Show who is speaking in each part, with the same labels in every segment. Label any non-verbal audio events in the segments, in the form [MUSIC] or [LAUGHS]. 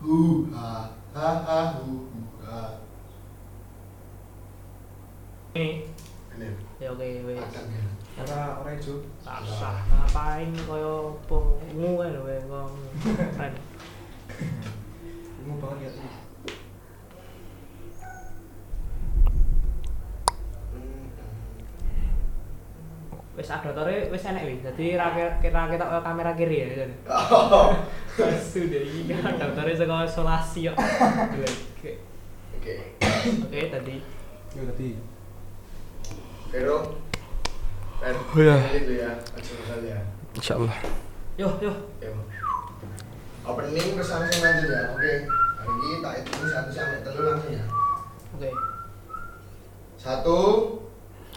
Speaker 1: hu ha ha ha hu hu ha
Speaker 2: Ini,
Speaker 1: ini
Speaker 2: ya oke wes.
Speaker 1: padangnya
Speaker 3: Ora ora ijo.
Speaker 2: Rasah ngapain koyo pengu kan we wong. Kan.
Speaker 3: Ungu banget ya sih.
Speaker 2: Wis adotore wis enek wis. Dadi ra kira kita koyo kamera kiri ya.
Speaker 1: oh
Speaker 2: Sudah iki [LAUGHS] adotore saka isolasi kok. Oke.
Speaker 1: oke
Speaker 2: Oke, tadi
Speaker 3: Ya tadi.
Speaker 1: pero per
Speaker 4: Oh, ya.
Speaker 1: itu ya langsung sekali ya
Speaker 4: Insyaallah.
Speaker 2: yo yo
Speaker 1: Yo. opening terus langsung lanjut ya oke hari ini tak hitung satu sampai telur langsung ya
Speaker 2: oke.
Speaker 1: satu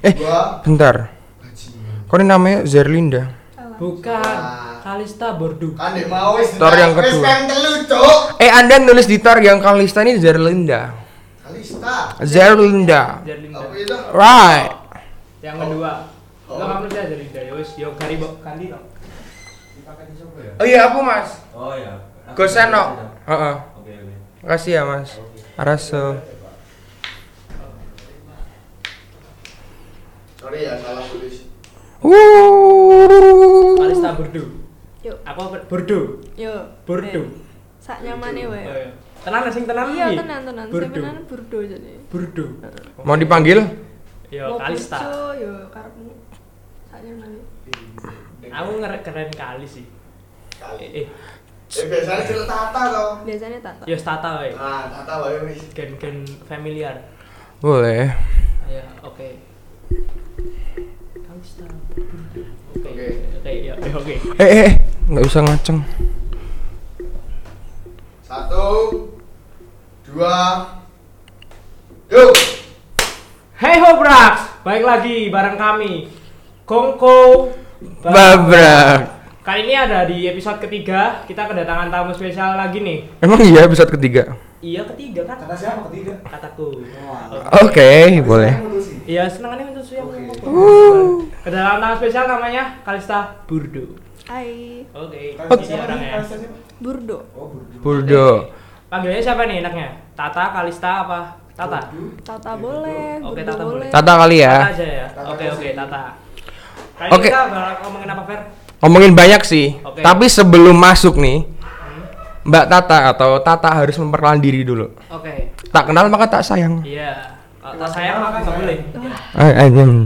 Speaker 4: Eh.
Speaker 1: dua
Speaker 4: Bentar.
Speaker 1: bajingan
Speaker 4: Kok ini namanya Zerlinda?
Speaker 2: Bukan Kalista Bordu.
Speaker 1: kan dek mau wis
Speaker 4: Tor yang
Speaker 1: wis
Speaker 4: kedua.
Speaker 1: peng telu cuk
Speaker 4: Eh, Anda nulis di tar yang Kalista ini Zerlinda.
Speaker 1: Kalista
Speaker 4: Zerlinda.
Speaker 2: Zerlinda.
Speaker 1: apa itu
Speaker 4: Right.
Speaker 2: Yang kedua.
Speaker 1: Oh.
Speaker 2: Lo kamu sih Zerlinda ya wis yo kari bok kali to.
Speaker 3: Dipakai di sopo ya?
Speaker 4: Oh iya, aku Mas.
Speaker 5: Oh ya. Aku
Speaker 4: Goseno.
Speaker 5: bisa.
Speaker 4: Heeh.
Speaker 5: Oke oke.
Speaker 4: Makasih ya, Mas. Araso.
Speaker 1: sorry ya salah tulis
Speaker 4: Wuuuuh.
Speaker 2: Kalista Bordu.
Speaker 6: Yuk.
Speaker 2: Apa Bordu?
Speaker 6: Yo.
Speaker 2: Bordu.
Speaker 6: Sak nyamane wae.
Speaker 2: Oh, iya. Tenan sing tenan
Speaker 6: Eh, Iya
Speaker 2: iki.
Speaker 6: tenan tenan.
Speaker 2: Burdo.
Speaker 6: Sebenarnya burdo jadi.
Speaker 2: Burdu.
Speaker 4: Mau dipanggil?
Speaker 2: Yo
Speaker 6: Mau burjo,
Speaker 2: Kalista.
Speaker 6: Yo karepmu. Sak nyamane.
Speaker 2: Aku ngerek keren kali sih.
Speaker 1: Kali.
Speaker 2: Eh, eh.
Speaker 1: Eh, biasanya cerita tata toh
Speaker 6: Biasanya tata.
Speaker 2: yo Stata wae.
Speaker 1: nah tata wae wis
Speaker 2: Gen-gen familiar.
Speaker 4: Boleh.
Speaker 2: Ayo, Ya, oke. Kalista. Burdu. Oke.
Speaker 1: Oke.
Speaker 2: Oke, yo yo, oke.
Speaker 4: Eh, eh, eh. nggak usah ngaceng.
Speaker 1: satu dua yuk
Speaker 2: Hey ho Brax, baik lagi bareng kami. Kongko
Speaker 4: Babrak.
Speaker 2: Kali ini ada di episode ketiga, kita kedatangan tamu spesial lagi nih.
Speaker 4: Emang iya episode ketiga?
Speaker 2: Iya ketiga kan
Speaker 3: Kata siapa ketiga?
Speaker 2: kataku.
Speaker 4: Oke, boleh.
Speaker 2: Iya senangannya untuk yang
Speaker 3: Oke.
Speaker 2: ngomong. Kedatangan tamu spesial namanya Kalista Burdo.
Speaker 6: Hai.
Speaker 2: Oke.
Speaker 4: Oh,
Speaker 2: ya.
Speaker 3: Kata
Speaker 2: ini
Speaker 3: siapa?
Speaker 2: orangnya.
Speaker 3: Kata siapa?
Speaker 5: ya.
Speaker 6: Burdo.
Speaker 3: Oh, burdu.
Speaker 4: Burdo.
Speaker 2: Panggilnya siapa nih enaknya? Tata, Kalista apa? Tata.
Speaker 6: Tata boleh.
Speaker 2: Iya, Oke,
Speaker 6: burdo
Speaker 2: tata boleh.
Speaker 4: Tata kali
Speaker 2: Tata
Speaker 4: ya.
Speaker 2: aja ya.
Speaker 3: Tata
Speaker 2: Oke
Speaker 3: aja
Speaker 2: oke
Speaker 3: sih.
Speaker 2: Tata. Kali
Speaker 4: Oke.
Speaker 2: ini kita bakal ngomongin apa Fer?
Speaker 4: Ngomongin banyak sih.
Speaker 2: Oke.
Speaker 4: Tapi sebelum masuk nih, Mbak Tata atau Tata harus memperkenalkan diri dulu.
Speaker 2: Oke.
Speaker 4: Tak kenal maka tak sayang.
Speaker 2: Iya. Kalau tak sayang maka nggak boleh.
Speaker 4: Eh, eh, hmm.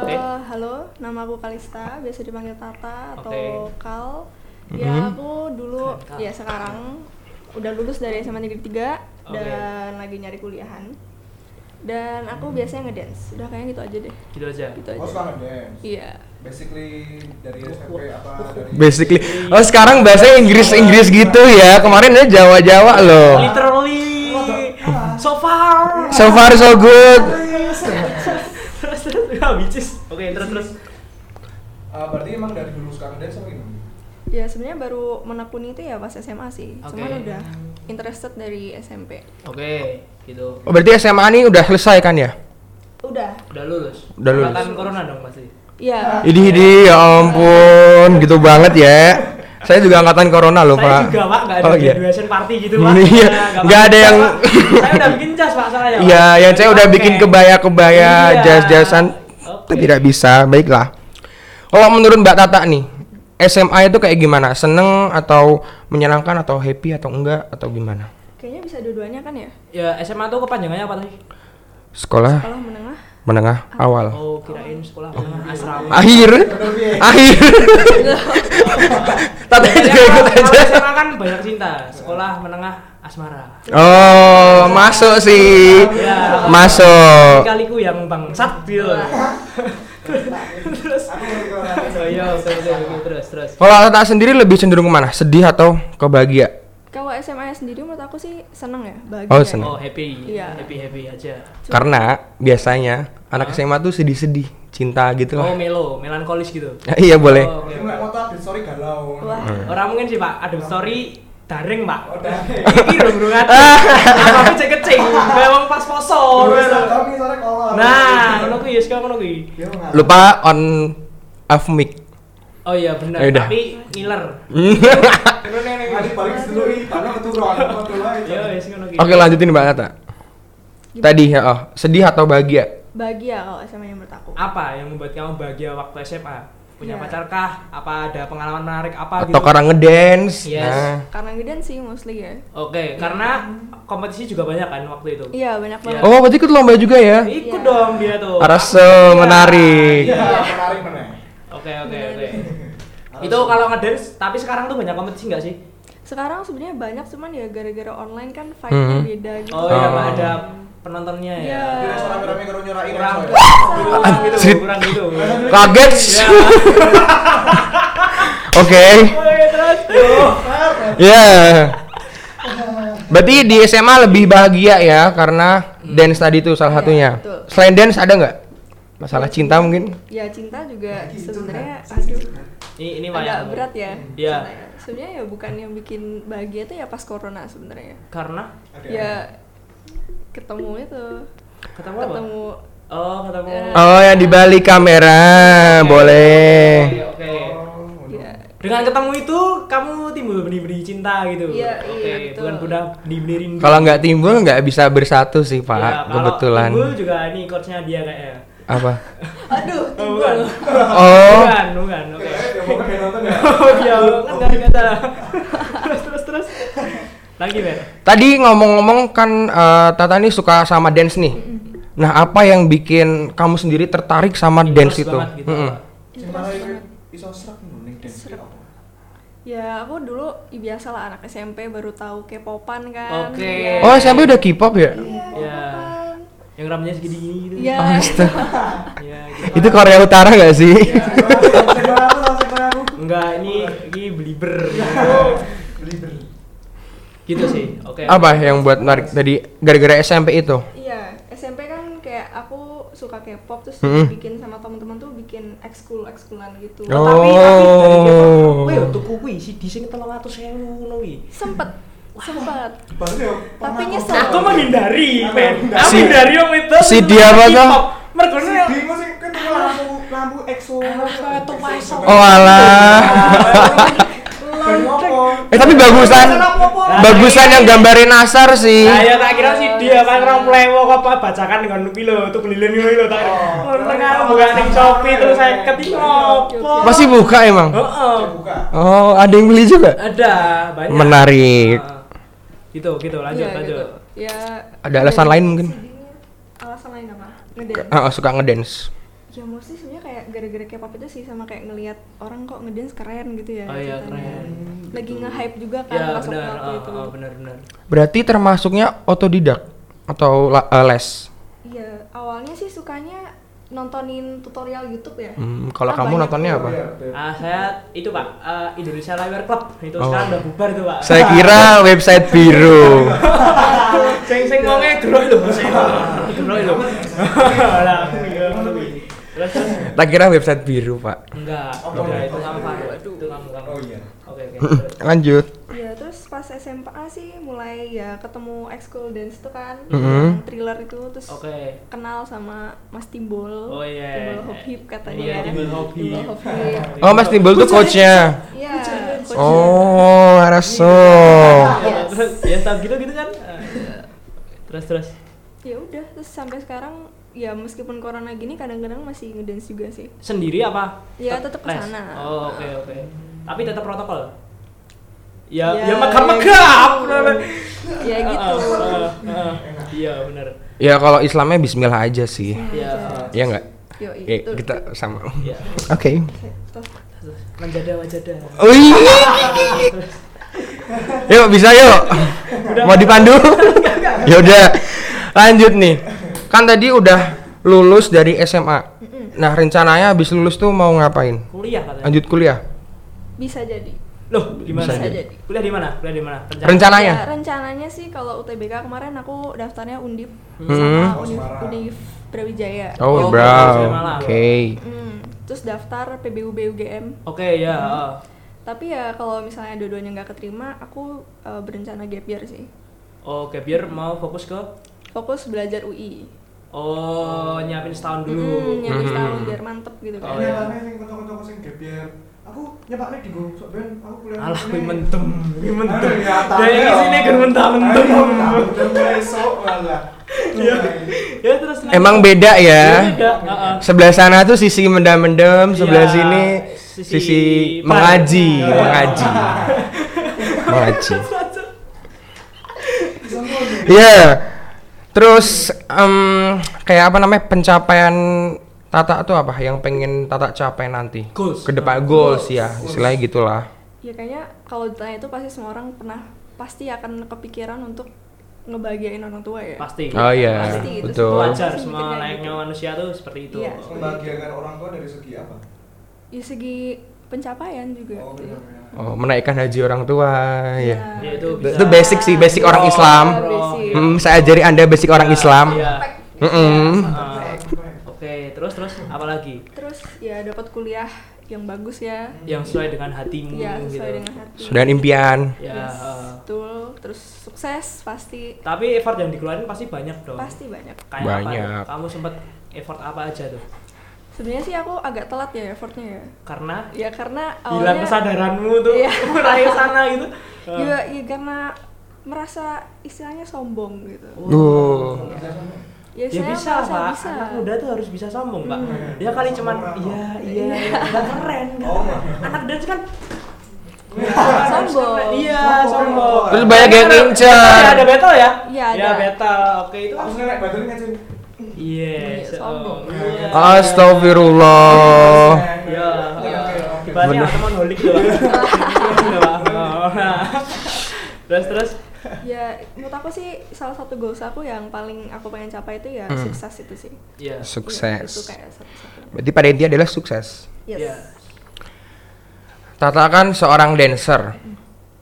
Speaker 2: Oke.
Speaker 6: Eh, halo, nama aku Kalista, biasa dipanggil Tata atau
Speaker 2: Oke.
Speaker 6: Kal. Ya aku dulu,
Speaker 2: Keren, Kal.
Speaker 6: ya sekarang udah lulus dari SMA Negeri 3
Speaker 2: Oke.
Speaker 6: dan lagi nyari kuliahan. Dan
Speaker 2: Hmm.
Speaker 6: aku biasanya ngedance, udah kayaknya gitu aja deh,
Speaker 2: Gitu aja.
Speaker 6: gitu
Speaker 3: Oh,
Speaker 6: aja.
Speaker 3: suka ngedance.
Speaker 6: Iya,
Speaker 3: Basically dari SMP apa dari
Speaker 4: [LAUGHS] Basically, oh sekarang bahasa Inggris-Inggris gitu ya. Kemarin ya Jawa-Jawa loh.
Speaker 2: Literally. So far.
Speaker 4: So far so good.
Speaker 2: terus terus ah bitches oke terus terus
Speaker 3: Ah, berarti emang dari dulu suka ngedance apa gimana?
Speaker 5: Iya.
Speaker 6: ya sebenarnya baru menekuni itu ya pas SMA sih,
Speaker 2: Oke.
Speaker 6: cuman udah interested dari SMP.
Speaker 2: oke gitu
Speaker 4: Oh, berarti SMA ini udah selesai kan ya?
Speaker 6: Udah,
Speaker 2: udah lulus
Speaker 4: Udah lulus.
Speaker 2: Angkatan corona dong pasti
Speaker 6: ya.
Speaker 4: Idih idih ya ampun, gitu banget ya. Saya juga angkatan corona loh,
Speaker 2: saya
Speaker 4: Pak.
Speaker 2: juga pak nggak ada
Speaker 4: Oh, iya.
Speaker 2: graduation party gitu pak
Speaker 4: Iya,
Speaker 2: Ya,
Speaker 4: nggak ada
Speaker 2: pakai
Speaker 4: yang-
Speaker 2: jas, Pak. saya udah bikin jas pak soalnya Pak.
Speaker 4: Iya, yang saya udah bikin
Speaker 2: Pakai.
Speaker 4: kebaya-kebaya,
Speaker 2: Iya.
Speaker 4: jas-jasan
Speaker 2: Oke.
Speaker 4: itu tidak bisa. Baiklah. Kalau menurut Mbak Tata nih, SMA itu kayak gimana? Seneng atau menyenangkan atau happy atau enggak atau gimana?
Speaker 6: Kayaknya bisa dua-duanya kan ya?
Speaker 2: ya SMA tuh kepanjangannya apa tadi
Speaker 4: Sekolah
Speaker 6: Kalau menengah,
Speaker 4: menengah awal.
Speaker 2: oh kirain sekolah menengah asrama Iya,
Speaker 4: Akhir.
Speaker 2: [LAUGHS]
Speaker 4: Akhir. Tata juga iya, ikut
Speaker 2: Kalau
Speaker 4: aja.
Speaker 2: SMA kan banyak cinta sekolah menengah asmara
Speaker 4: Oh, masuk sih.
Speaker 2: Iya.
Speaker 4: Masuk.
Speaker 2: kaliku yang bangsat gitu loh. terus oh, iya, oke, oke, oke, terus terus
Speaker 4: Kalau Tata sendiri lebih cenderung kemana? Sedih atau kebahagia?
Speaker 6: kalau SMA sendiri menurut aku sih seneng ya, bahagia.
Speaker 4: Oh,
Speaker 6: ya.
Speaker 4: seneng.
Speaker 2: oh happy
Speaker 6: Iya.
Speaker 2: happy happy aja
Speaker 4: Karena biasanya anak SMA tuh sedih-sedih, cinta gitu
Speaker 2: Oh
Speaker 4: lah.
Speaker 2: melo, melankolis gitu.
Speaker 4: Ya, [LAUGHS] iya boleh.
Speaker 2: Oh, oke.
Speaker 3: Ini mulai mau update story galau.
Speaker 6: Wah,
Speaker 4: Hmm.
Speaker 2: Orang mungkin sih pak, ada story daring pak.
Speaker 3: Oh, dari.
Speaker 2: [LAUGHS] Ini dong burung
Speaker 4: [LAUGHS]
Speaker 2: hati. Apa kecil kecil, bawang pas
Speaker 5: Oh,
Speaker 2: poso. Nah,
Speaker 3: Dulu
Speaker 2: gitu.
Speaker 3: sama kami soalnya kolor. Iya,
Speaker 2: Nah, ngono kuwi, yes ngono kuwi.
Speaker 3: Dia mau ngalah.
Speaker 4: Lupa on off mic.
Speaker 2: Oke Oh iya benar.
Speaker 4: Ya udah.
Speaker 2: Tapi
Speaker 4: [LAUGHS]
Speaker 2: ngiler.
Speaker 3: Terus nenek adik balik dulu ini karena keturunan apa tuh lah.
Speaker 5: Iya.
Speaker 2: Yo wis Iya, ngono ki.
Speaker 4: Oke lanjutin Mbak Tata.
Speaker 6: Gimana?
Speaker 4: Tadi ya, oh, sedih atau bahagia?
Speaker 6: bahagia kalau SMA menurut aku
Speaker 2: Apa yang membuat kamu bahagia waktu SMA? Punya
Speaker 6: Ya.
Speaker 2: pacar kah? Apa ada pengalaman menarik apa
Speaker 4: Atau
Speaker 2: gitu?
Speaker 4: karena ngedance? Nah.
Speaker 2: Yes.
Speaker 6: karena gedean sih mostly ya
Speaker 2: Oke, karena kompetisi juga banyak kan waktu itu.
Speaker 6: iya banyak banget
Speaker 4: Oh, berarti ikut lomba juga ya?
Speaker 2: Ikut
Speaker 6: Iya.
Speaker 2: dong dia tuh.
Speaker 4: Arase
Speaker 2: Iya.
Speaker 4: eh, menarik.
Speaker 2: Iya.
Speaker 3: Iya, menarik mana?
Speaker 2: Oke oke
Speaker 6: Benar.
Speaker 2: oke.
Speaker 6: iya.
Speaker 2: [LAUGHS] Itu kalau ngedance, tapi sekarang tuh banyak kompetisi nggak sih?
Speaker 6: sekarang sebenarnya banyak cuman ya gara-gara online kan vibe-nya
Speaker 4: Mhm.
Speaker 6: beda gitu
Speaker 2: Oh iya,
Speaker 4: Oh.
Speaker 2: Pak, ada penontonnya ya.
Speaker 6: Iya.
Speaker 3: Di restoran rame kalau nyerahin
Speaker 2: Kurang
Speaker 3: soalnya.
Speaker 2: kurang gitu,
Speaker 4: Anjir.
Speaker 2: kurang gitu.
Speaker 4: Kaget.
Speaker 2: Iya.
Speaker 4: Oke.
Speaker 2: Oke, terus. Tuh.
Speaker 4: Ya. Berarti di SMA lebih bahagia ya karena dance tadi itu salah
Speaker 6: Iya,
Speaker 4: satunya.
Speaker 6: betul.
Speaker 4: Selain dance ada nggak? Masalah cinta mungkin?
Speaker 6: ya cinta juga
Speaker 3: Lagi itu,
Speaker 6: sebenarnya
Speaker 3: Nak.
Speaker 6: aduh
Speaker 2: Ini ini Pak, ya.
Speaker 6: agak berat ya
Speaker 2: Iya.
Speaker 6: cintanya. sebenarnya ya bukan yang bikin bahagia tuh ya pas corona sebenarnya
Speaker 2: Karena
Speaker 3: Ada.
Speaker 6: ya ketemu itu
Speaker 2: ketemu apa?
Speaker 6: ketemu
Speaker 2: Oh, ketemu.
Speaker 6: Eh.
Speaker 4: Oh, yang di balik
Speaker 2: Iya.
Speaker 4: kamera boleh.
Speaker 2: Oke, oke.
Speaker 3: Oh,
Speaker 6: ya
Speaker 2: Dengan ketemu itu kamu timbul benih-benih cinta gitu.
Speaker 6: Iya,
Speaker 2: Oke,
Speaker 6: iya, betul.
Speaker 2: bukan budak benih-benih rindu.
Speaker 4: Kalau nggak timbul nggak bisa bersatu sih Pak.
Speaker 2: Iya, kalau
Speaker 4: Kebetulan.
Speaker 2: Timbul juga ini coachnya dia kayaknya. [LAUGHS]
Speaker 4: Apa?
Speaker 6: aduh
Speaker 2: Oh, bukan.
Speaker 6: timbul
Speaker 4: Oh.
Speaker 2: Bukan, bukan. Oke.
Speaker 3: Eh, dia mau kan dia nonton ya?
Speaker 2: Oh, iya, kan dari kata. Terus terus terus. Lagi, Ber.
Speaker 4: Tadi ngomong-ngomong kan eh, Tata nih suka sama dance nih. Nah, apa yang bikin kamu sendiri tertarik sama
Speaker 2: Interest
Speaker 4: dance itu?
Speaker 2: banget gitu.
Speaker 4: Mm-mm.
Speaker 3: Cinta lagi
Speaker 6: banget.
Speaker 3: iso serak nih dan
Speaker 6: Serak. ya aku dulu ya biasa lah anak SMP baru tahu K-popan kan
Speaker 2: Oke.
Speaker 6: Ya.
Speaker 4: Oh, SMP udah K-pop ya?
Speaker 2: Iya. Yang rambutnya segini
Speaker 4: Oh,
Speaker 2: gitu.
Speaker 6: Iya.
Speaker 4: Astaga.
Speaker 2: Iya, gitu.
Speaker 4: Itu Korea Utara nggak sih?
Speaker 3: Sedih aku, sedih aku.
Speaker 2: Enggak, ini ini belieber.
Speaker 3: Beli beli.
Speaker 2: gitu sih. Oke.
Speaker 4: Apa yang buat menarik tadi gara-gara SMP itu?
Speaker 6: Iya, SMP kan kayak aku suka K-pop terus
Speaker 4: Mm-mm.
Speaker 6: bikin sama teman-teman tuh bikin ekskul ekskulan gitu.
Speaker 4: Oh.
Speaker 2: Tapi tapi dari Jepang,
Speaker 4: Oh.
Speaker 2: weh tuku kuwi CD sing 300.000 ngono kuwi.
Speaker 6: Sempet, sempet.
Speaker 3: Baru ya,
Speaker 6: Tapi
Speaker 3: pernah
Speaker 6: nyesel.
Speaker 2: Aku menghindari,
Speaker 3: Aku
Speaker 2: men.
Speaker 3: menghindari.
Speaker 2: Aku
Speaker 4: Si-
Speaker 2: menghindari wong itu.
Speaker 4: si dia apa toh?
Speaker 2: Mergo
Speaker 3: Si
Speaker 2: nek
Speaker 3: Bimo sih kan itu lampu lampu EXO
Speaker 2: itu masuk.
Speaker 4: Oh alah. Eh tapi bagusan
Speaker 2: Nah,
Speaker 4: bagusan yang gambarin Nasar sih.
Speaker 2: Lah ya tak kira si dia
Speaker 6: Iya,
Speaker 2: kan orang plewo apa bacakan dengan kuwi lho, tuh lilin kuwi lho tak.
Speaker 3: Oh.
Speaker 2: Ngono aku buka ning
Speaker 6: Iya.
Speaker 2: Shopee terus saya ketik opo.
Speaker 4: Masih buka emang?
Speaker 2: Heeh.
Speaker 3: buka.
Speaker 4: Oh, ada yang beli juga?
Speaker 2: Ada banyak.
Speaker 4: Menarik.
Speaker 2: Heeh. Gitu, gitu lanjut,
Speaker 6: Iya,
Speaker 2: lanjut.
Speaker 6: gitu. Ya.
Speaker 4: Ada alasan lain mungkin?
Speaker 6: Alasan lain apa? Ngedance.
Speaker 4: Ah, suka ngedance.
Speaker 6: Ya mostly sebenarnya kayak gara-gara K-pop itu sih sama kayak ngelihat orang kok ngedance keren gitu ya.
Speaker 2: Oh iya,
Speaker 6: ceritanya.
Speaker 2: keren.
Speaker 6: Lagi nge-hype juga kan
Speaker 2: Ya
Speaker 6: pas
Speaker 2: benar,
Speaker 6: waktu itu.
Speaker 2: oh, oh, benar benar.
Speaker 4: Berarti termasuknya otodidak atau la- eh, les?
Speaker 6: Iya, awalnya sih sukanya nontonin tutorial YouTube ya.
Speaker 4: Hmm, kalau
Speaker 6: Ah,
Speaker 4: kamu
Speaker 6: banyak.
Speaker 4: nontonnya [LAUGHS] apa?
Speaker 3: Iya,
Speaker 2: Ah, saya itu Pak, eh, Indonesia Liar Club itu
Speaker 4: Oh.
Speaker 2: sekarang udah bubar tuh Pak.
Speaker 4: Saya kira website biru.
Speaker 2: sing
Speaker 6: Iya.
Speaker 2: sing wonge geroy lho, sing geroy
Speaker 6: [LAUGHS]
Speaker 2: lho. Lah, aku mikir ngono kuwi. Terus terus.
Speaker 4: Tak kira website biru, Pak.
Speaker 2: enggak,
Speaker 3: Oh,
Speaker 2: enggak
Speaker 3: oh,
Speaker 2: itu
Speaker 3: oh,
Speaker 2: kamu
Speaker 3: oh,
Speaker 2: Pak.
Speaker 3: oh,
Speaker 2: Itu kamu kamu.
Speaker 3: Oh iya.
Speaker 2: Oke oke.
Speaker 4: [LAUGHS]
Speaker 2: terus.
Speaker 4: Lanjut.
Speaker 6: Ya terus pas SMA sih mulai ya ketemu ekskul dance itu kan
Speaker 4: Mhm.
Speaker 6: yang thriller itu terus
Speaker 2: Oke.
Speaker 6: kenal sama Mas Timbol.
Speaker 2: Oh iya.
Speaker 6: Timbol Hop Hip katanya.
Speaker 2: Iya, Timbul hobi.
Speaker 6: Timbol Hop Hip.
Speaker 4: Oh, Mas Timbul tuh coachnya.
Speaker 6: Iya. coach.
Speaker 4: Oh, Araso.
Speaker 2: Terus ya tahu gitu-gitu kan. Eh, Terus terus.
Speaker 6: Ya udah terus sampai sekarang ya meskipun corona gini kadang-kadang masih ngedance juga sih.
Speaker 2: Sendiri apa?
Speaker 6: Ya,
Speaker 2: Tet-
Speaker 6: tetap
Speaker 2: les?
Speaker 6: kesana.
Speaker 2: Oh oke oke. Tapi tetap protokol. Ya,
Speaker 6: Ya,
Speaker 2: ya, Ah, megap-megap.
Speaker 6: ya gitu. Ya gitu.
Speaker 2: Heeh, heeh. Iya benar.
Speaker 4: Ya kalau Islamnya bismillah aja sih.
Speaker 2: Iya.
Speaker 4: Ya enggak?
Speaker 6: gitu. Yo,
Speaker 4: Eh,
Speaker 6: itu. gitu.
Speaker 4: kita sama.
Speaker 2: Iya.
Speaker 4: Oke.
Speaker 6: Tuh.
Speaker 2: Menjada wajada.
Speaker 4: Wih. Yuk bisa yuk. Mau dipandu? ya udah. Lanjut nih. Kan tadi udah lulus dari SMA. Nah, rencananya habis lulus tuh mau ngapain?
Speaker 2: Kuliah katanya.
Speaker 4: Lanjut kuliah.
Speaker 6: Bisa jadi.
Speaker 2: Loh, gimana?
Speaker 4: Bisa
Speaker 6: jadi.
Speaker 2: Kuliah di mana? Kuliah di mana?
Speaker 6: Ya,
Speaker 4: Rencananya?
Speaker 6: rencananya sih kalau UTBK kemarin aku daftarnya Undip
Speaker 4: Hmm.
Speaker 6: sama Univ,
Speaker 3: Semarang.
Speaker 6: Univ Brawijaya.
Speaker 2: Oh,
Speaker 4: Oh,
Speaker 2: bagus,
Speaker 4: bro.
Speaker 2: ya, malah.
Speaker 4: Oke.
Speaker 6: Hmm, terus daftar PBUB UGM.
Speaker 2: Oke, ya. heeh.
Speaker 6: Tapi ya kalau misalnya dua-duanya nggak keterima, aku eh, berencana gap year sih.
Speaker 2: Oke, biar mau fokus ke
Speaker 6: Fokus belajar UI.
Speaker 2: oh nyiapin setahun dulu.
Speaker 6: Hmm, nyari
Speaker 4: Hmm.
Speaker 6: setahun biar mantep gitu
Speaker 2: Oh,
Speaker 6: kan.
Speaker 2: iya.
Speaker 3: Ini yang toko-toko sing gebiar aku nyepaknya di go sok ben aku kuliah Ah,
Speaker 2: Alah,
Speaker 3: kene.
Speaker 2: kui mentem, kui mentem.
Speaker 3: Aduh, nyata,
Speaker 2: Dari
Speaker 3: ya.
Speaker 2: sini kan mentem-mentem.
Speaker 3: Aduh, mentem, besok malah.
Speaker 2: Iya. Ya terus nanti-
Speaker 4: Emang beda ya.
Speaker 2: Beda, heeh.
Speaker 4: Sebelah sana tuh sisi mendem-mendem, sebelah
Speaker 2: Iya,
Speaker 4: sini
Speaker 2: sisi
Speaker 4: sisi,
Speaker 2: pan.
Speaker 4: mengaji,
Speaker 2: Iya.
Speaker 4: mengaji. mengaji.
Speaker 3: Bisa ngono.
Speaker 4: Iya. Terus em, kayak apa namanya pencapaian Tata tuh apa yang pengen Tata capai nanti?
Speaker 2: Goals.
Speaker 4: Ke depan goals, ya, istilahnya gitulah.
Speaker 6: ya kayaknya kalau ditanya itu pasti semua orang pernah pasti akan kepikiran untuk ngebahagiain orang tua ya
Speaker 2: Pasti.
Speaker 4: Oh iya,
Speaker 6: Pasti itu
Speaker 2: Itu
Speaker 4: betul.
Speaker 2: wajar
Speaker 6: Pasti
Speaker 2: semua
Speaker 6: mikirnya
Speaker 2: layaknya
Speaker 6: gitu.
Speaker 2: manusia tuh seperti itu.
Speaker 6: Iya.
Speaker 3: Membahagiakan orang tua dari segi apa?
Speaker 6: ya segi pencapaian juga
Speaker 3: Oh,
Speaker 6: gitu.
Speaker 3: benar.
Speaker 4: Oh, menaikkan haji orang tua, ya.
Speaker 2: iya. Ya, itu
Speaker 4: Itu- itu basic sih, basic orang
Speaker 6: Iya,
Speaker 4: Islam.
Speaker 6: basic.
Speaker 4: Hmm, saya ajari Anda basic orang
Speaker 2: Iya,
Speaker 4: Islam.
Speaker 2: iya.
Speaker 4: Mm-mm.
Speaker 2: Ah, Oke, terus terus apalagi
Speaker 6: terus ya dapat kuliah yang bagus ya
Speaker 2: yang sesuai dengan hatimu
Speaker 6: ya sesuai
Speaker 2: gitu.
Speaker 6: dengan hati
Speaker 4: Sudah impian.
Speaker 2: Ya,
Speaker 6: Yes,
Speaker 2: eh.
Speaker 6: betul terus sukses pasti
Speaker 2: Tapi effort yang dikeluarin pasti banyak dong.
Speaker 6: pasti banyak
Speaker 2: Kayak
Speaker 4: Banyak.
Speaker 2: Apa? Kamu sempet effort apa aja tuh?
Speaker 6: sebenarnya sih aku agak telat ya effortnya ya
Speaker 2: Karena
Speaker 6: ya karena
Speaker 2: hilang
Speaker 6: awalnya
Speaker 2: kesadaranmu tuh
Speaker 6: Iya.
Speaker 2: [LAUGHS] meraih sana gitu. Eh,
Speaker 6: juga ya karena merasa istilahnya sombong gitu
Speaker 4: Duh.
Speaker 6: ya,
Speaker 2: Ya
Speaker 6: saya
Speaker 2: bisa
Speaker 6: merasa
Speaker 2: pak,
Speaker 6: bisa.
Speaker 2: anak muda tuh harus bisa sombong pak.
Speaker 3: Hmm.
Speaker 2: Dia kali cuman
Speaker 3: Sombong, Pak.
Speaker 2: iya iya iya, nggak keren kan.
Speaker 3: Oh, Pak.
Speaker 2: anak dance kan
Speaker 6: Sombong.
Speaker 2: Iya
Speaker 3: Sombong.
Speaker 2: sombong.
Speaker 4: Terus banyak yang
Speaker 2: Ada-
Speaker 4: ngincer.
Speaker 2: Ada battle ya?
Speaker 6: Iya, ada.
Speaker 2: Ya battle. Oke itu. kan-
Speaker 3: Aku ngelek badan ngecil.
Speaker 2: Iya.
Speaker 6: Iya, sombong.
Speaker 2: Iya.
Speaker 4: Astagfirullah.
Speaker 2: Ya.
Speaker 3: Oke, Iya. oke, oke.
Speaker 2: Tiba-tiba
Speaker 4: Bener.
Speaker 2: teman holik
Speaker 6: [LAUGHS]
Speaker 2: tuh. Iya, Pak. Oh, nah. Terus terus.
Speaker 6: ya menurut aku sih salah satu goals aku yang paling aku pengen capai itu ya
Speaker 4: Hmm.
Speaker 6: sukses itu sih
Speaker 2: Iya.
Speaker 6: Iya, itu
Speaker 4: Sukses.
Speaker 6: kayak satu-satunya
Speaker 4: Berarti pada intinya adalah sukses.
Speaker 6: yes
Speaker 2: Iya.
Speaker 4: Tata kan seorang dancer.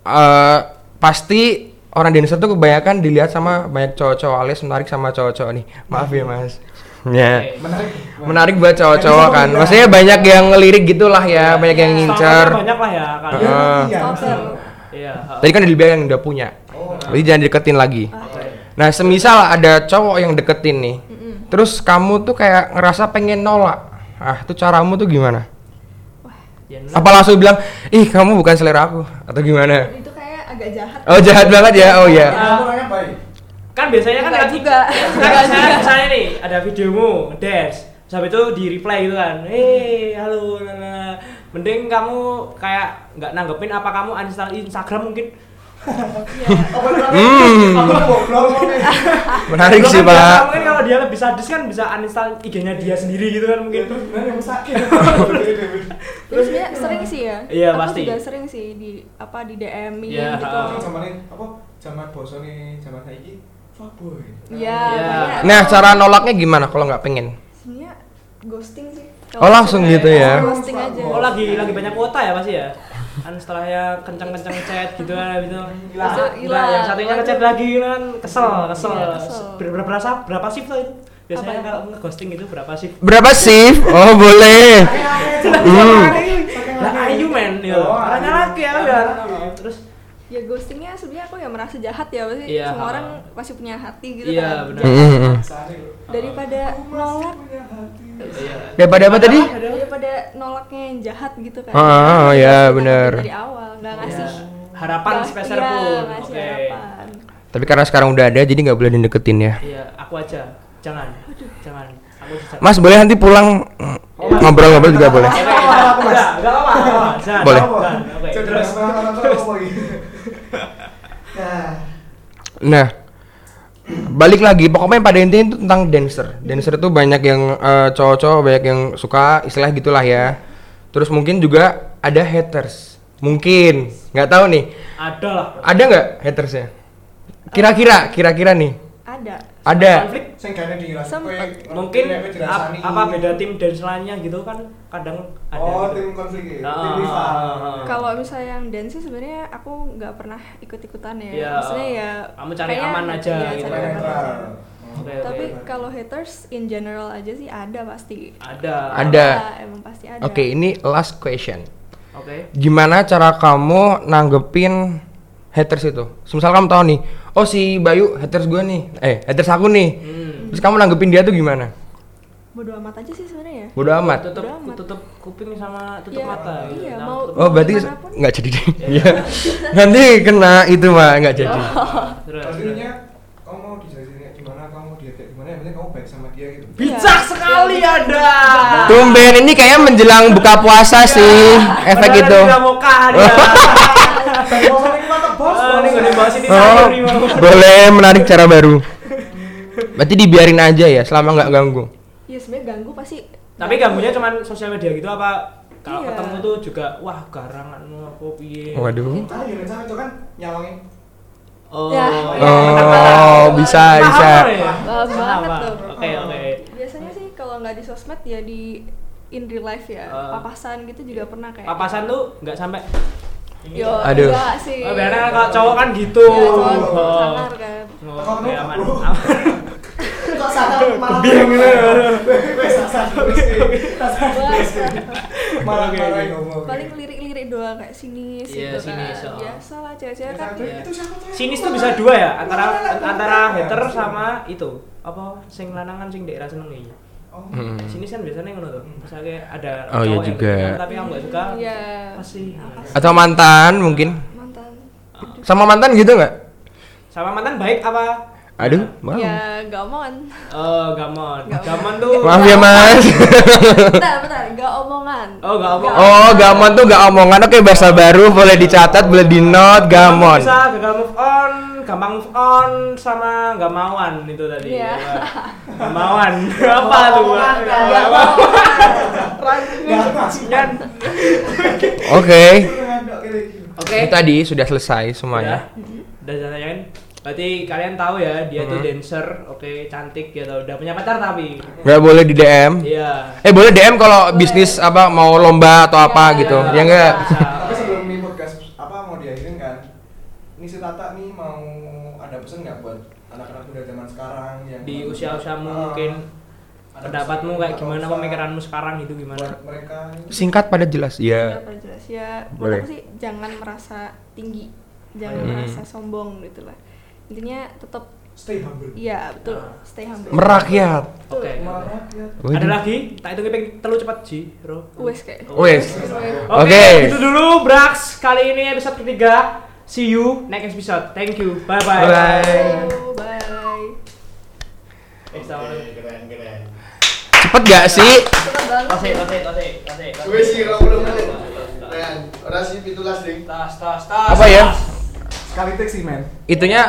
Speaker 4: Eh, pasti orang dancer tuh kebanyakan dilihat sama banyak cowok-cowok alias menarik sama cowok-cowok nih. Maaf ya mas. Ya.
Speaker 2: Oke.
Speaker 3: Menarik.
Speaker 4: Menarik buat cowok-cowok kan. Maksudnya banyak yang ngelirik gitulah ya, banyak yang ngincer.
Speaker 2: Stalkernya kan Banyak lah ya kalian.
Speaker 3: Iya,
Speaker 4: Ah.
Speaker 3: iya,
Speaker 6: Stalker.
Speaker 2: Iya. heeh.
Speaker 4: Tadi kan udah dibilang yang udah punya.
Speaker 3: Oh,
Speaker 4: Jadi jangan deketin lagi.
Speaker 2: Oke.
Speaker 4: Nah, semisal ada cowok yang deketin nih. Terus kamu tuh kayak ngerasa pengen nolak. Ah, tuh caramu tuh gimana?
Speaker 2: Ya, nah.
Speaker 4: Apa langsung bilang, "Ih, kamu bukan selera aku." Atau gimana?
Speaker 6: itu kayak agak jahat
Speaker 4: Oh, jahat banget ya. Oh ya.
Speaker 3: Kamu orangnya baik.
Speaker 2: kan biasanya kan
Speaker 6: Enggak
Speaker 2: [LAUGHS] lagi-
Speaker 6: juga.
Speaker 2: kan misalnya, misalnya nih ada videomu dance sampai itu di reply gitu kan hei halo nana mending kamu kayak nggak nanggepin apa kamu uninstall Instagram mungkin Ya.
Speaker 3: Oh, beneran.
Speaker 4: Hmm.
Speaker 3: Aku goblok.
Speaker 4: Menarik
Speaker 2: Lo
Speaker 4: sih,
Speaker 2: kan biasa
Speaker 4: Pak.
Speaker 2: mungkin kalau dia lebih sadis kan bisa uninstall IG-nya dia sendiri gitu kan mungkin
Speaker 3: Gitu, beneran yang [LAUGHS] sakit. Iya,
Speaker 6: terus dia sering sih ya
Speaker 2: Iya,
Speaker 6: aku
Speaker 2: pasti.
Speaker 6: juga sering sih di apa di DM in
Speaker 2: Iya,
Speaker 6: gitu
Speaker 2: ah.
Speaker 3: Zaman ini apa? Zaman bosan nih, zaman saiki. Fuckboy.
Speaker 6: Iya,
Speaker 2: Iya.
Speaker 6: banyak.
Speaker 4: Nah, cara nolaknya gimana kalau nggak pengen?
Speaker 6: sebenarnya ghosting sih
Speaker 4: Oh, langsung
Speaker 6: Kalau
Speaker 4: gitu ya.
Speaker 6: ghosting aja
Speaker 2: oh lagi lagi banyak kuota ya pasti ya kan setelah yang kenceng-kenceng chat gitu kan gitu
Speaker 3: Terus
Speaker 6: tuh
Speaker 2: Nah,
Speaker 6: hilang.
Speaker 2: yang satunya ngechat lagi gitu kan kesel kesel,
Speaker 6: Iya, kesel.
Speaker 2: Ber- ber- berapa berapa shift tuh itu biasanya
Speaker 6: Apa? ya?
Speaker 2: kalau ghosting itu berapa shift
Speaker 4: Berapa shift? Oh, boleh. Hmm.
Speaker 2: lah ayu men ya
Speaker 3: Oh,
Speaker 2: orangnya
Speaker 3: ayu.
Speaker 2: laki ya udah terus
Speaker 6: ya ghostingnya sebenarnya aku ya merasa jahat ya pasti
Speaker 2: Iya.
Speaker 6: semua orang pasti punya hati gitu
Speaker 2: Iya,
Speaker 6: kan
Speaker 2: benar.
Speaker 4: Hmm, hmm, hmm.
Speaker 6: daripada Eh, nolak
Speaker 4: Daripada apa tadi?
Speaker 6: daripada nolaknya yang jahat gitu kan
Speaker 4: Ah, ah, ah, ya,
Speaker 6: Kita
Speaker 4: bener.
Speaker 6: dari awal
Speaker 2: Ya,
Speaker 6: nggak ngasih
Speaker 2: harapan
Speaker 6: nggak-
Speaker 2: spesial
Speaker 6: iya,
Speaker 2: pun
Speaker 6: ngasih
Speaker 2: oke
Speaker 6: harapan
Speaker 4: Tapi karena sekarang udah ada, jadi nggak boleh dideketin ya.
Speaker 2: iya aku aja jangan jangan aku jangan.
Speaker 4: Mas, boleh nanti pulang mm, ngobrol-ngobrol juga boleh.
Speaker 2: Oke, oke,
Speaker 3: Apa, apa, Mas?
Speaker 2: enggak, enggak apa-apa, enggak apa-apa. Jangan,
Speaker 4: Boleh.
Speaker 2: jangan. Oke, ya? terus.
Speaker 3: gitu?
Speaker 2: [LAUGHS]
Speaker 3: Nah,
Speaker 4: Nah, balik lagi pokoknya pada intinya itu tentang dancer. Dancer itu banyak yang eh, cowok-cowok banyak yang suka istilah gitulah ya. Terus mungkin juga ada haters. Mungkin nggak tahu nih.
Speaker 2: Ada lah.
Speaker 4: Ada nggak hatersnya? Kira-kira, kira-kira nih.
Speaker 6: ada
Speaker 4: Ada.
Speaker 2: Konflik
Speaker 3: sing kene dirasa
Speaker 6: Sempet.
Speaker 3: kowe-
Speaker 2: mungkin
Speaker 3: kowe
Speaker 2: ap-
Speaker 3: dirasani.
Speaker 2: apa beda tim dance lainnya gitu kan kadang ada.
Speaker 3: Oh,
Speaker 2: gitu.
Speaker 3: tim konflik ya.
Speaker 2: Ah,
Speaker 3: Tim rival.
Speaker 2: ah, ah.
Speaker 6: kalau misalnya yang dance sih sebenarnya aku nggak pernah ikut ikutan ya
Speaker 2: Iya.
Speaker 6: maksudnya ya
Speaker 2: Kamu cari
Speaker 6: kayaknya-
Speaker 2: aman aja
Speaker 6: iya,
Speaker 2: gitu.
Speaker 6: cari
Speaker 3: Kowe
Speaker 6: aman
Speaker 3: netral.
Speaker 6: aja.
Speaker 3: Oh.
Speaker 2: Oke, oke.
Speaker 6: tapi kalau haters in general aja sih ada pasti
Speaker 2: ada.
Speaker 4: Ada.
Speaker 6: emang pasti ada
Speaker 4: Oke, ini last question.
Speaker 2: Oke.
Speaker 4: Gimana cara kamu nanggepin haters itu? Misal kamu tahu nih, oh si Bayu haters gue nih, eh haters aku nih.
Speaker 2: Hmm.
Speaker 4: Terus kamu nanggepin dia tuh gimana?
Speaker 6: bodo amat aja sih sebenarnya ya.
Speaker 4: Bodo amat.
Speaker 2: Hmm. tutup
Speaker 6: Bodoh amat.
Speaker 2: tutup kuping sama tutup
Speaker 6: Iya,
Speaker 2: mata gitu.
Speaker 6: iya,
Speaker 2: Sama
Speaker 6: mau-
Speaker 2: tutup-
Speaker 4: Oh berarti
Speaker 6: Gimana pun.
Speaker 4: nggak jadi deh. [LAUGHS] Iya. Nanti kena itu mah nggak jadi.
Speaker 6: Oh.
Speaker 2: Terus, terus.
Speaker 6: Iya.
Speaker 3: Pastinya kamu mau dijajarin kayak gimana, kamu mau diet kayak gimana, yang penting kamu baik sama dia gitu.
Speaker 2: bijak sekali anda
Speaker 4: Tumben ini kayaknya menjelang buka puasa
Speaker 6: Iya.
Speaker 4: sih efek gitu. itu.
Speaker 2: tidak mau kaya
Speaker 4: [LAUGHS]
Speaker 3: Tapi mau saling mata bos,
Speaker 2: Ah, ini gak
Speaker 3: bos.
Speaker 2: ada yang bahas ini
Speaker 4: Oh,
Speaker 2: sayur nih, Bang.
Speaker 4: boleh menarik cara baru. Berarti dibiarin aja ya selama nggak ganggu.
Speaker 6: Iya sebenarnya ganggu pasti.
Speaker 2: tapi ganggunya cuman sosial media gitu apa kalau
Speaker 6: Iya.
Speaker 2: ketemu tuh juga wah garangan mau apa piye
Speaker 4: Waduh.
Speaker 3: Ah, ya rencana itu kan
Speaker 2: [LAUGHS]
Speaker 3: nyawangin.
Speaker 2: oh
Speaker 6: Ya.
Speaker 4: Oh bisa bisa.
Speaker 6: Paham banget tuh.
Speaker 2: ya? oke oke
Speaker 6: Biasanya sih kalau nggak di sosmed ya di in real life ya.
Speaker 2: Eh.
Speaker 6: Papasan gitu juga pernah kayak.
Speaker 2: papasan tuh nggak sampai
Speaker 6: Yo,
Speaker 4: Aduh.
Speaker 6: enggak sih.
Speaker 2: oh biasanya kan kalau cowok kan gitu
Speaker 6: Iya, cowok
Speaker 2: Oh.
Speaker 6: sangar kan.
Speaker 2: Oh,
Speaker 3: Kalau
Speaker 2: oke,
Speaker 3: kamu,
Speaker 2: aman.
Speaker 3: bro.
Speaker 2: Aman.
Speaker 1: Kok sadar malah
Speaker 3: Iya,
Speaker 2: Bingung ini.
Speaker 3: Wes sasar terus sih. Sasar
Speaker 2: [LAUGHS]
Speaker 3: terus sih. Marah-marahin ngomong.
Speaker 6: Paling
Speaker 2: kan
Speaker 6: lirik-lirik doang kayak
Speaker 2: Iya,
Speaker 6: sini gitu kan.
Speaker 2: sinis, oh. Iya.
Speaker 6: Biasa lah cewek-cewek kan.
Speaker 3: Sasar, itu siapa tuh?
Speaker 2: sinis tuh bisa dua ya antara antara hater sama itu apa sing lanangan sing daerah seneng nih
Speaker 3: Oh.
Speaker 4: Hmm.
Speaker 2: sinis kan biasanya ngono tuh misalnya ada
Speaker 4: Oh,
Speaker 2: cowok
Speaker 4: iya
Speaker 2: yang
Speaker 4: juga.
Speaker 2: seneng tapi kamu nggak suka
Speaker 6: Iya.
Speaker 2: pasti
Speaker 6: Apa sih?
Speaker 4: Atau mantan mungkin.
Speaker 6: Mantan.
Speaker 4: Sama mantan gitu nggak?
Speaker 2: sama mantan baik apa
Speaker 4: Aduh, wow.
Speaker 6: Ya,
Speaker 4: [LAUGHS]
Speaker 6: gamon.
Speaker 2: Oh, gamon.
Speaker 6: Gamon.
Speaker 2: Gamon tuh.
Speaker 4: Maaf ya mas.
Speaker 6: bentar, bentar, gak omongan.
Speaker 2: Oh, nggak omong.
Speaker 4: Oh, gamon tuh gak omongan. Oke, bahasa baru boleh dicatat, boleh di note gamon.
Speaker 2: Bisa gagal move on, gampang move on sama nggak mauan itu tadi.
Speaker 6: Iya.
Speaker 2: Nggak mauan. Apa tuh?
Speaker 3: Nggak
Speaker 2: Nggak
Speaker 3: mauan.
Speaker 2: mauan.
Speaker 3: Nggak masukan.
Speaker 2: Kan?
Speaker 4: Oke.
Speaker 3: Nggak kira-kira.
Speaker 2: Oke.
Speaker 4: Itu tadi sudah selesai semuanya.
Speaker 2: Udah jangan Berarti kalian tahu ya dia tuh
Speaker 4: Mhm.
Speaker 2: dancer, oke cantik gitu. Udah punya pacar tapi.
Speaker 6: Ya.
Speaker 4: Gak boleh di DM.
Speaker 2: Iya.
Speaker 4: Eh boleh DM kalau bisnis apa mau lomba atau apa
Speaker 6: Iya,
Speaker 4: gitu.
Speaker 6: iya,
Speaker 4: Ya enggak?
Speaker 2: bisa.
Speaker 3: Tapi sebelum ini podcast apa mau diakhirin kan? Ini si Tata nih mau ada pesan nggak buat anak-anak muda zaman sekarang yang
Speaker 2: Di usia-usiamu
Speaker 3: Ah,
Speaker 2: mungkin
Speaker 3: ada
Speaker 2: pendapatmu
Speaker 3: pesan
Speaker 2: kayak
Speaker 3: atau
Speaker 2: gimana
Speaker 3: pesan
Speaker 2: pemikiranmu sekarang gitu
Speaker 3: buat
Speaker 2: gimana?
Speaker 3: mereka ini?
Speaker 4: Singkat pada jelas.
Speaker 6: Gak
Speaker 4: Iya.
Speaker 6: pernah jelas ya.
Speaker 4: Boleh.
Speaker 6: Menurut aku sih jangan merasa tinggi, jangan
Speaker 4: Hmm.
Speaker 6: merasa sombong gitu lah. Intinya tetap
Speaker 3: Stay humble.
Speaker 6: ya betul
Speaker 2: Ah.
Speaker 6: stay humble.
Speaker 4: Merakyat.
Speaker 2: Oke.
Speaker 3: Marah rakyat.
Speaker 2: Ada
Speaker 4: Waduh.
Speaker 2: lagi? Tak hitung ping telu cepat Ji, Bro.
Speaker 6: Wes kayak.
Speaker 4: Wes.
Speaker 2: Oke,
Speaker 4: Oke.
Speaker 2: itu dulu Brax kali ini episode ketiga. See you next episode. Thank you. Bye bye.
Speaker 4: Bye-bye.
Speaker 6: Oh, bye.
Speaker 1: Oke, keren keren
Speaker 4: Cepet gak sih?
Speaker 6: Tetap banget.
Speaker 2: Tasik, tasik, tasik, tasik.
Speaker 1: Gue sih 20 menit Keren, orasi pitulas ding
Speaker 2: Tas, tas, tas.
Speaker 4: Apa ya?
Speaker 3: Sekali tek sih men.
Speaker 4: Itunya